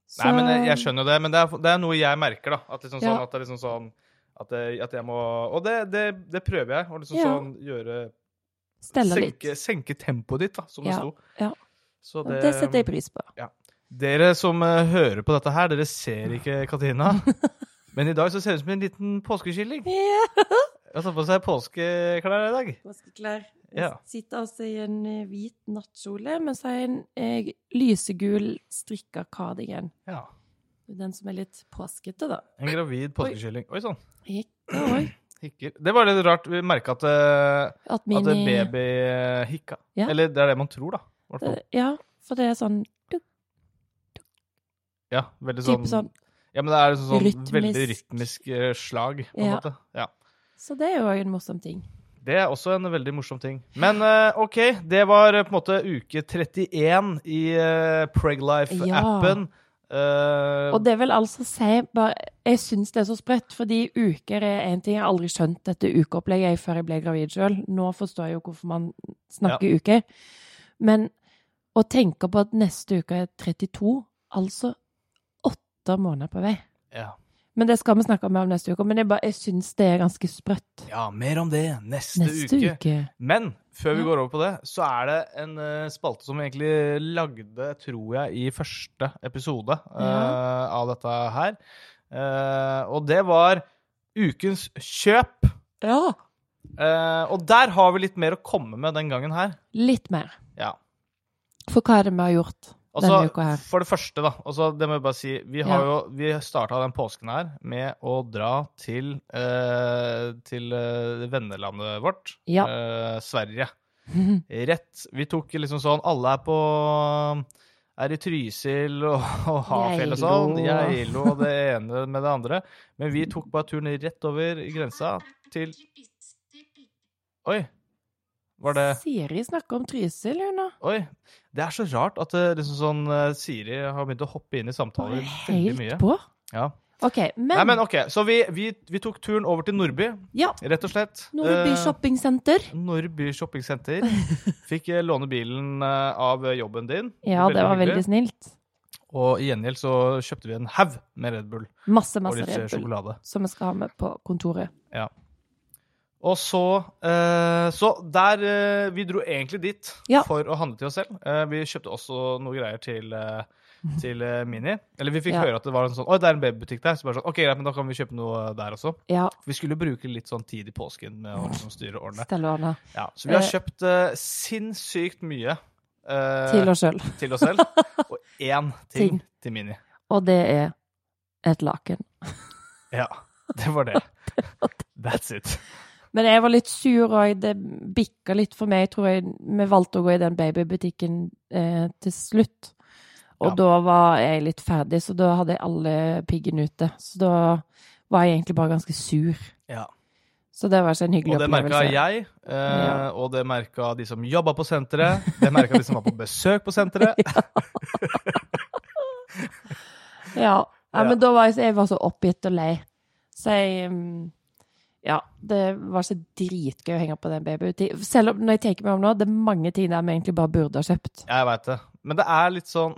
B: Så-
A: Nei, men jeg, jeg skjønner jo det, men det er, det er noe jeg merker, da. At liksom sånn
B: Ja.
A: at det er liksom sånn at, det, at jeg må Og det, det, det prøver jeg. Å liksom
B: Ja.
A: sånn gjøre
B: Steller litt.
A: senke, senke tempoet ditt, da, som det
B: Ja,
A: sto.
B: ja.
A: Så
B: Det, setter jeg pris på.
A: Dere som eh, hører på dette her, dere ser ikke Katina. Men i dag så ser hun ut som en liten påskekylling.
B: Ja.
A: Hun har tatt på seg påskeklær i dag.
B: Vaskeklær.
A: Ja.
B: Sitter altså i en eh, hvit nattkjole, men så har jeg en eh, lysegul strikka cardigan.
A: Ja.
B: Den som er litt påskete, da.
A: En gravid påskekylling. Oi sann.
B: Hikka òg.
A: Hikker. Det var litt rart. Vi merka at, eh,
B: At
A: at
B: mini...
A: en baby eh, hikka.
B: Ja.
A: Eller det er det man tror, da. i hvert fall.
B: Det- Ja, for det er sånn
A: Ja, veldig sånn,
B: type Eh, sånn.
A: Ja, men det er sånn, sånn
B: Rytmisk.
A: veldig rytmisk eh, slag, på en
B: Ja.
A: måte. Ja.
B: Så det er jo òg en morsom ting.
A: Det er også en veldig morsom ting. Men eh, OK, det var eh, på en måte uke 31 i eh, Preglife-appen. Eh,
B: Og det vil altså si bare, Jeg syns det er så sprøtt, fordi uker er én ting. Jeg har aldri skjønt dette ukeopplegget jeg, før jeg ble gravid sjøl. Nå forstår jeg jo hvorfor man snakker uker. Men å tenke på at neste uke er 32, altså åtte måneder på vei.
A: ja.
B: Men det skal vi snakke mer om neste uke. Men jeg, bare- jeg syns det er ganske sprøtt.
A: ja, mer om det neste,
B: Neste
A: uke.
B: uke.
A: Men før vi
B: Ja.
A: går over på det, så er det en eh, spalte som vi egentlig lagde, tror jeg, i første episode eh, av dette her. Eh, og det var ukens kjøp.
B: Ja.
A: Eh, og der har vi litt mer å komme med den gangen her.
B: Litt mer.
A: Ja.
B: For hva er det vi har gjort?
A: Og så,
B: Denne uka her.
A: For det første, da. Og så det må jeg bare si. Vi, har
B: Ja.
A: jo, vi starta den påsken her med å dra til, eh, til eh, vennelandet vårt,
B: Ja.
A: eh, Sverige. Rett. Vi tok liksom sånn Alle er på er i Trysil og, og Hafjell og sånn.
B: Geilo.
A: Geilo og det ene med det andre. Men vi tok bare turen rett over grensa til Oi! Var det
B: Siri snakker om Trysil, hun nå.
A: Oi, det er så rart at eh, liksom sånn, eh, Siri har begynt å hoppe inn i
B: Hun
A: samtaler
B: er
A: veldig mye.
B: Helt på.
A: Ja.
B: OK, men,
A: Nei, men ok, Så vi, vi, vi tok turen over til Nordby,
B: Ja.
A: rett og slett.
B: Nordby
A: Eh,
B: shoppingsenter.
A: Nordby shoppingsenter. Fikk eh, låne bilen eh, av jobben din.
B: Ja, det var veldig
A: hyggelig.
B: snilt.
A: Og i gjengjeld så kjøpte vi en haug med Red Bull
B: Masse,
A: og
B: masse
A: litt eh,
B: Red Bull
A: sjokolade.
B: som vi skal ha med på kontoret.
A: Og så eh, Så der eh, Vi dro egentlig dit
B: Ja.
A: for å handle til oss selv. Eh, vi kjøpte også noe greier til, eh, til eh, Mini. Eller vi fikk
B: Ja.
A: høre at det var en sånn Oi, det er en babybutikk der. Så bare sånn, ok, greit, men da kan vi kjøpe noe eh, der også.
B: Ja,
A: Vi skulle bruke litt sånn tid i påsken med å liksom, styre årene.
B: Stella og Anna.
A: Ja, så vi har
B: Eh.
A: kjøpt eh, sinnssykt mye eh,
B: Til oss sjøl.
A: til oss selv. Og én ting
B: Ting.
A: til Mini.
B: Og det er et laken.
A: Ja, det var det. That's it.
B: Men jeg var litt sur òg. Det bikka litt for meg. Jeg tror jeg, vi valgte å gå i den babybutikken eh, til slutt. Og
A: Ja.
B: da var jeg litt ferdig, så da hadde jeg alle piggene ute. Så da var jeg egentlig bare ganske sur.
A: Ja.
B: Så det var ikke en hyggelig
A: Og det merka
B: opplevelse.
A: jeg, eh,
B: Ja.
A: og det merka de som jobba på senteret. Det merka de som var på besøk på senteret.
B: Ja. ja,
A: Ja.
B: men da var jeg, jeg var så oppgitt og lei. Så jeg mm, Ja, det var så dritgøy å henge på den babyen. Selv om når jeg tenker meg om nå, det er mange ting der vi egentlig bare burde ha kjøpt.
A: Jeg veit det. Men det er litt sånn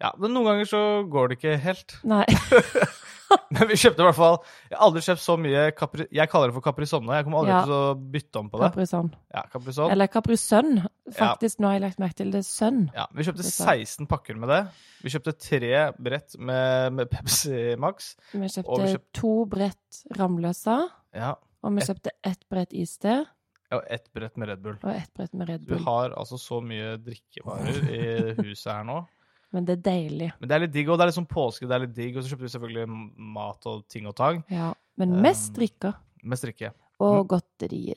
A: Ja, men noen ganger så går det ikke helt.
B: Nei.
A: Men vi kjøpte i hvert fall Jeg har aldri kjøpt så mye Capri... Jeg kaller det for Caprisonne. Jeg kommer aldri
B: Ja.
A: til å bytte om på det.
B: Capri-Sun.
A: Ja, Caprisonne.
B: Eller Capri-Sun. Faktisk, nå har jeg lagt merke til det. Sønn.
A: Ja, vi kjøpte
B: Dette.
A: 16 pakker med det. Vi kjøpte tre brett med, med Pepsi Max.
B: Vi
A: Og
B: kjøpte
A: vi kjøp-
B: to brett ramløse,
A: Ja,
B: og vi
A: Et-
B: kjøpte ett brett iste
A: Og ett brett med Red Bull.
B: og ett brett med Red
A: Du
B: Bull.
A: har altså så mye drikkevarer i huset her nå.
B: Men det er deilig.
A: Men det er litt digg, og det er litt sånn påske, det er litt digg, og så kjøpte vi selvfølgelig mat og ting og tang,
B: Ja. Men mest
A: Um,
B: drikker
A: med strikke.
B: og godterier.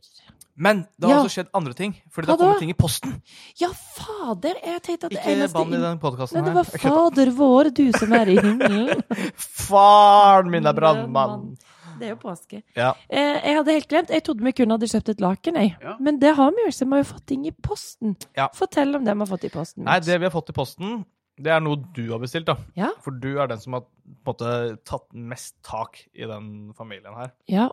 A: Men det har
B: Ja.
A: også skjedd andre ting, fordi det har
B: Hva da?
A: kommet ting i posten.
B: Ja, fader! Jeg tenkte at det
A: Ikke
B: eneste
A: bann i den podkasten
B: Nei,
A: her.
B: det var
A: Jeg kødder.
B: Fader vår, du som er i himmelen.
A: Faren min er brannmann!
B: Det er jo påske.
A: Ja.
B: Eh, jeg hadde helt glemt. Jeg trodde vi kun hadde kjøpt et laken, jeg.
A: Ja.
B: Men det har vi jo ikke. Vi har jo fått ting i posten.
A: Ja.
B: Fortell om det vi har fått i posten.
A: Nei, det vi har fått i posten, det er noe du har bestilt, da.
B: Ja.
A: For du er den som har på en måte tatt mest tak i den familien her.
B: Ja.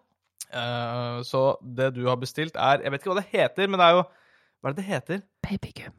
A: Eh, så det du har bestilt, er Jeg vet ikke hva det heter, men det er jo Hva er det det heter?
B: Babygum.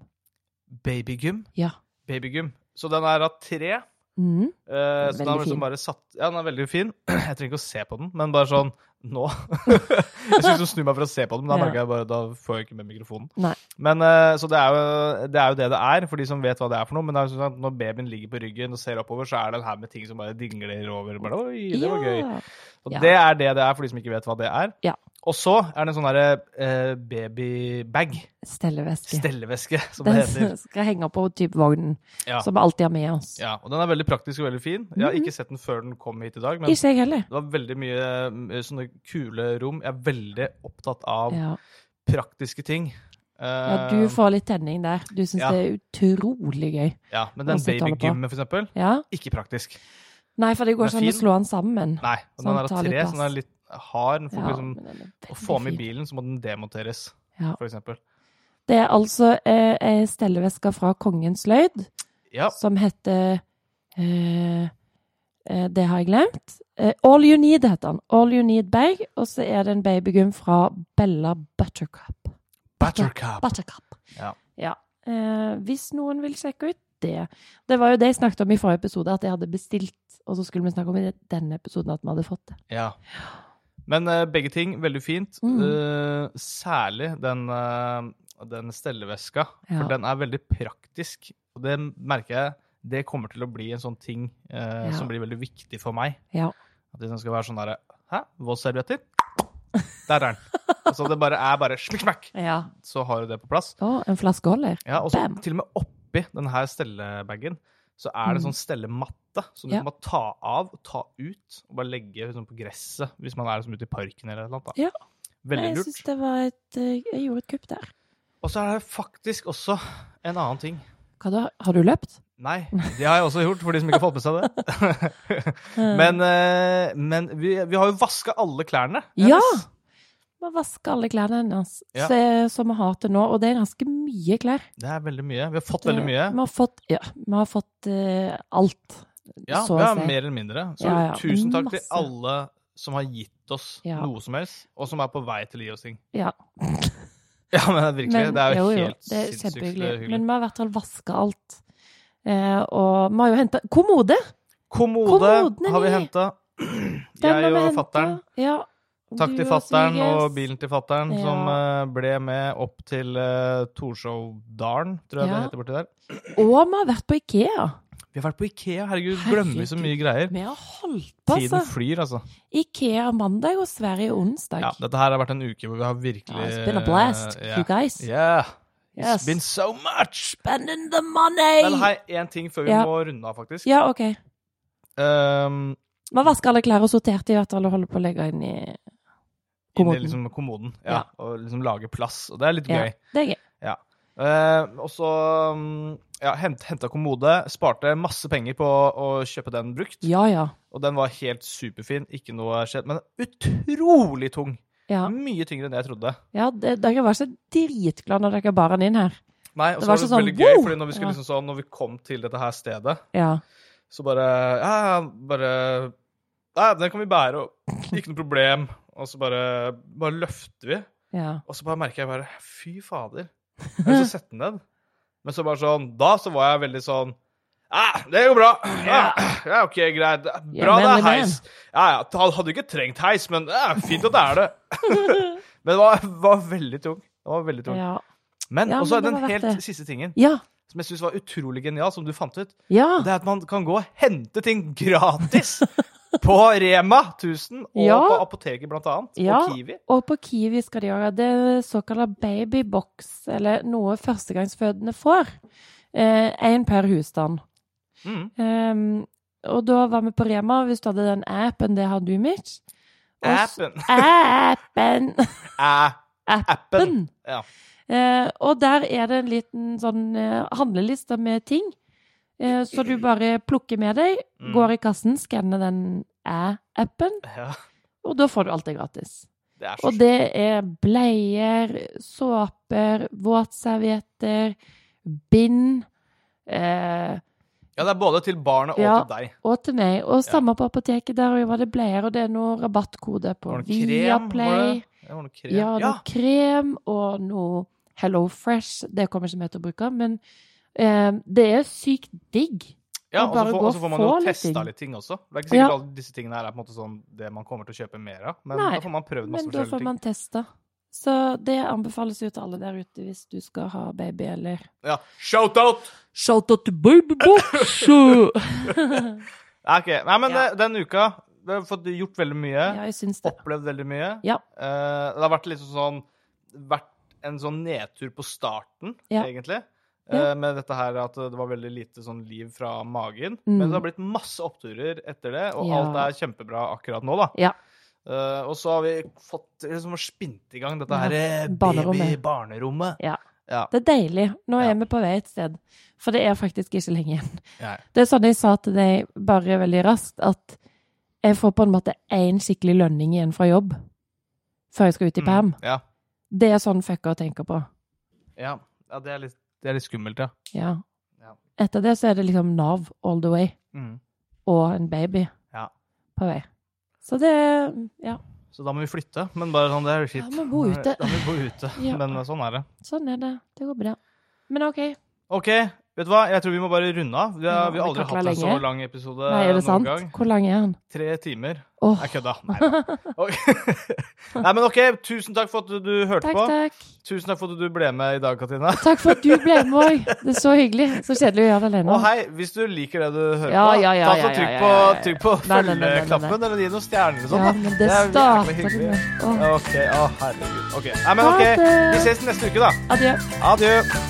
A: Babygym?
B: Ja.
A: Babygym. Så den er av tre.
B: Mm.
A: Eh, så
B: Veldig
A: den har
B: fin.
A: liksom bare satt Ja, den er veldig fin. Jeg trenger ikke å se på den, men bare sånn nå. jeg skulle liksom snu meg for å se på den, men da
B: Ja.
A: merker jeg bare da får jeg ikke med mikrofonen.
B: Nei.
A: Men eh, Så det er, jo, det er jo det det er, for de som vet hva det er for noe. Men det er jo sånn at når babyen ligger på ryggen og ser oppover, så er det en haug med ting som bare dingler over. Bare, Oi, det var gøy.
B: Ja.
A: Og
B: Ja.
A: det er det det er for de som ikke vet hva det er.
B: Ja.
A: Og så er det en sånn derre eh, babybag,
B: Stelleveske.
A: stelleveske, som det
B: Den
A: heter.
B: som skal henge på typ vognen,
A: Ja.
B: som vi alltid har med oss.
A: ja, Og den er veldig praktisk og veldig fin. Jeg har ikke sett den før den kom hit i dag, men
B: Mhm. Ikke jeg heller.
A: det var veldig mye eh, sånne kule rom. Jeg er veldig opptatt av
B: Ja.
A: praktiske ting. Eh,
B: ja, du får litt tenning der. Du syns
A: ja.
B: det er utrolig gøy.
A: ja, men den
B: Hva sitter han på?
A: babygymmen, for eksempel,
B: Ja.
A: ikke praktisk.
B: Nei, for det
A: Den
B: går
A: er
B: ikke an å
A: fin.
B: slå den sammen.
A: Nei. og
B: Så
A: Den
B: han
A: er av
B: tar litt
A: tre, så den
B: plass.
A: er litt hard. Den får
B: Ja,
A: liksom,
B: men den er
A: å få med i
B: veldig fin.
A: bilen, så må den demonteres,
B: Ja.
A: for eksempel.
B: Det er altså eh, ei stelleveske fra Kongens Løyd
A: Ja.
B: som heter eh, eh, Det har jeg glemt. Eh, All You Need heter den. All You Need Bag. Og så er det en babygym fra Bella Buttercup.
A: Buttercup.
B: Buttercup.
A: Ja.
B: Eh, hvis noen vil sjekke ut det Det var jo det jeg snakket om i forrige episode, at jeg hadde bestilt, og så skulle vi snakke om i denne episoden at vi hadde fått det.
A: Ja. Men eh, begge ting veldig fint.
B: Mm.
A: Eh, særlig den, eh, den stelleveska,
B: Ja.
A: for den er veldig praktisk. Og det merker jeg det kommer til å bli en sånn ting eh,
B: Ja.
A: som blir veldig viktig for meg.
B: Ja.
A: At det skal være sånn derre Hæ? Våtservietter? Der er den. Altså det bare er bare smekk, smekk,
B: Ja.
A: så har du det på plass.
B: Å, en flaske holder.
A: Ja, og så
B: Bam.
A: til og med oppi den her stellebagen så er det
B: Mm.
A: sånn stellematte som du
B: Ja.
A: kan bare ta av og ta ut, og bare legge liksom, på gresset hvis man er liksom, ute i parken eller noe.
B: Ja.
A: Veldig
B: Nei, Jeg
A: lurt.
B: syns det var et eh, Jeg gjorde et kupp der.
A: Og så er det faktisk også en annen ting.
B: Hva da? Har du løpt?
A: Nei, det har jeg også gjort, for de som ikke har fått med seg det. men eh, men vi, vi har jo vaska alle klærne.
B: Ja!
A: hennes.
B: Man vasker alle klærne hennes
A: Ja.
B: se- som vi har til nå, og det er ganske mye klær.
A: Det er veldig mye. Vi har fått veldig mye.
B: Det- Vi har fått, ja, vi har fått eh, alt.
A: Ja,
B: så å
A: vi har
B: si.
A: mer eller mindre. Så
B: Ja, ja,
A: tusen takk
B: masse.
A: til alle som har gitt oss
B: Ja.
A: noe som helst, og som er på vei til å gi oss ting.
B: Ja.
A: Ja, men virkelig.
B: Men-
A: det er jo, helt
B: det er
A: sinnssykt
B: kjempehyggelig.
A: hyggelig.
B: Men vi har i hvert fall vaska alt. Eh, og vi har jo henta Kommode!
A: Kommode
B: Kommoden er
A: har vi
B: ny.
A: henta.
B: Den har
A: Jeg
B: vi
A: og
B: hentet.
A: fattern.
B: Ja,
A: Takk
B: du
A: til
B: og
A: fattern og
B: svigers.
A: bilen til fattern
B: Ja.
A: som eh, ble med opp til uh, Torshovdalen, tror jeg det
B: Ja.
A: heter borti der.
B: Og vi har vært på Ikea.
A: Vi har vært på Ikea, herregud, glemmer vi så mye greier.
B: Vi har holdt på, altså.
A: Tiden flyr, altså.
B: Ikea mandag og Sverige onsdag.
A: Ja, dette her har vært en uke hvor vi har virkelig
B: Ja, it's been a blast,
A: eh,
B: you guys.
A: Yeah.
B: Yes.
A: It's been so much!
B: Spend in the money!
A: Men hei, én ting før vi
B: Ja.
A: må runde av, faktisk.
B: Ja, OK.
A: Um,
B: Man vasker alle klær og sorterte i hvert fall og holder på å legge inn i
A: inn i
B: Kommoden.
A: liksom kommoden. Ja,
B: Ja.
A: Og liksom lage plass. Og det er litt
B: Ja,
A: gøy.
B: det er gøy.
A: Eh, og så mm, ja, hent, henta kommode. Sparte masse penger på å kjøpe den brukt.
B: Ja, ja.
A: Og den var helt superfin. Ikke noe skjedd. Men utrolig tung!
B: Ja,
A: Mye tyngre enn jeg trodde.
B: ja det, dere var så dritglade når dere bar den inn her.
A: Nei, og
B: Det
A: så
B: var
A: var det
B: så sånn,
A: veldig gøy,
B: wow!
A: fordi når vi, skulle,
B: Ja.
A: liksom, sånn, når vi kom til dette her stedet,
B: Ja.
A: så bare Ja, ja, bare Nei, den kan vi bære, og ikke noe problem. Og så bare, bare løfter vi.
B: ja.
A: Og så bare merker jeg bare Fy fader. Jeg har lyst til å sette den ned. Men så bare sånn Da så var jeg veldig sånn Ja, det går bra. Ja, ja OK, greit.
B: Ja,
A: Bra det
B: manly
A: er
B: man.
A: heis. Ja, ja. ta- Hadde ikke trengt heis, men ja, fint at det er det. Men det var, var veldig tung. Det var veldig tung.
B: Ja.
A: Men
B: Ja,
A: og så er
B: men det
A: den
B: var verdt
A: helt
B: det.
A: siste tingen
B: Ja.
A: som jeg syns var utrolig genial, som du fant ut.
B: ja.
A: Det er at man kan gå og hente ting gratis på Rema 1000 og
B: Ja.
A: på apoteket, blant annet.
B: Ja.
A: Og Kiwi.
B: Og på Kiwi skal de gjøre det såkalla babybox, eller noe førstegangsfødende får. Én per husstand.
A: Mm.
B: Ehm, og da var vi på Rema, hvis du hadde den appen, det har du, Mitch. Og s-
A: Appen.
B: Appen!
A: Æ. Appen.
B: Appen.
A: Ja.
B: Eh, og der er det en liten sånn eh, handleliste med ting. Eh, så du bare plukker med deg,
A: Mm.
B: går i kassen, skanner den æ-appen,
A: Ja.
B: og da får du alt det gratis.
A: Det er så
B: Og det er bleier, såper, våtservietter, bind. Eh,
A: Ja, det er både til barnet og
B: Ja.
A: til deg.
B: Og til meg. Og samme på apoteket. Der og var det bleier, og det er noe rabattkode på
A: Var det noe krem? Var det,
B: Viaplay.
A: det var noe krem.
B: Ja,
A: Ja,
B: noe krem og noe Hello Fresh. Det kommer ikke vi til å bruke, men eh, det er sykt digg.
A: ja,
B: og
A: og så
B: bare
A: får,
B: gå
A: og så får man
B: og
A: jo
B: få litt
A: testa
B: ting.
A: litt ting også. Det er ikke sikkert
B: Ja.
A: alle disse tingene her er på en måte sånn det man kommer til å kjøpe mer av, men
B: Nei,
A: da får man prøvd masse
B: Men da får
A: forskjellige ting.
B: man testa. Så det anbefales jo til alle der ute hvis du skal ha baby, eller
A: Ja. Shout-out!
B: Shout out to babybox!
A: Ja, ok. Nei, men
B: Ja.
A: eh, den uka Vi har fått gjort veldig mye.
B: Ja, jeg syns det.
A: Opplevd veldig mye.
B: Ja.
A: Eh, det har vært liksom sånn Vært en sånn nedtur på starten,
B: Ja.
A: egentlig.
B: Ja.
A: Eh, Med dette her at det var veldig lite sånn liv fra magen.
B: Mm.
A: Men det har blitt masse oppturer etter det, og
B: Ja.
A: alt er kjempebra akkurat nå, da.
B: Ja.
A: Eh, og så har vi fått liksom spint i gang dette
B: Ja,
A: her eh,
B: barnerommet.
A: baby-barnerommet.
B: Det er deilig. Nå
A: Ja.
B: er vi på vei et sted. For det er faktisk ikke lenge igjen.
A: Nei.
B: Det er sånn jeg sa til deg bare veldig raskt, at jeg får på en måte én skikkelig lønning igjen fra jobb før jeg skal ut i perm.
A: Mm, ja.
B: Det er sånn fucker tenker på.
A: Ja. ja, det er litt, det er litt skummelt, ja.
B: Ja.
A: Ja.
B: Etter det så er det liksom Nav all the way,
A: Mm.
B: og en baby
A: Ja.
B: på vei. Så det Ja,
A: Så da må vi flytte, men bare sånn, det er jo shit.
B: Ja, må bo ute.
A: Da må vi bo ute,
B: Ja.
A: men sånn er det.
B: sånn er det. Det går bra. Men OK.
A: Eh, Ok, vet du hva? Jeg tror vi må bare runde av. Vi har,
B: Ja,
A: vi har
B: vi
A: aldri hatt
B: kakla
A: en så
B: lenge.
A: lang episode
B: Nei, er det
A: noen
B: sant?
A: gang.
B: Hvor lang er den?
A: Tre timer.
B: Åh,
A: Jeg kødda. Nei, da. Ok. Nei, men ok, tusen takk for at du- du hørte
B: takk,
A: på.
B: takk.
A: Tusen takk for at du ble med i dag, Katina.
B: Takk for at du ble med òg. Det er så hyggelig. Så kjedelig å gjøre det alene.
A: Og hei, hvis du liker det du hører
B: Ja,
A: på,
B: ja, ja,
A: ta så
B: ja, ja,
A: trykk
B: ja,
A: på,
B: ja, ja.
A: trykk på
B: Nei, nei, nei, nei, nei,
A: følgeknappen, eller gi noen stjerner og sånn.
B: Ja,
A: da.
B: men
A: Det
B: det
A: er jævlig
B: starter
A: hyggelig.
B: du med. Åh,
A: Ok, å herregud. Ok, Nei, men
B: Ha
A: ok,
B: det.
A: vi ses neste uke da.
B: Adjø.
A: Adjø.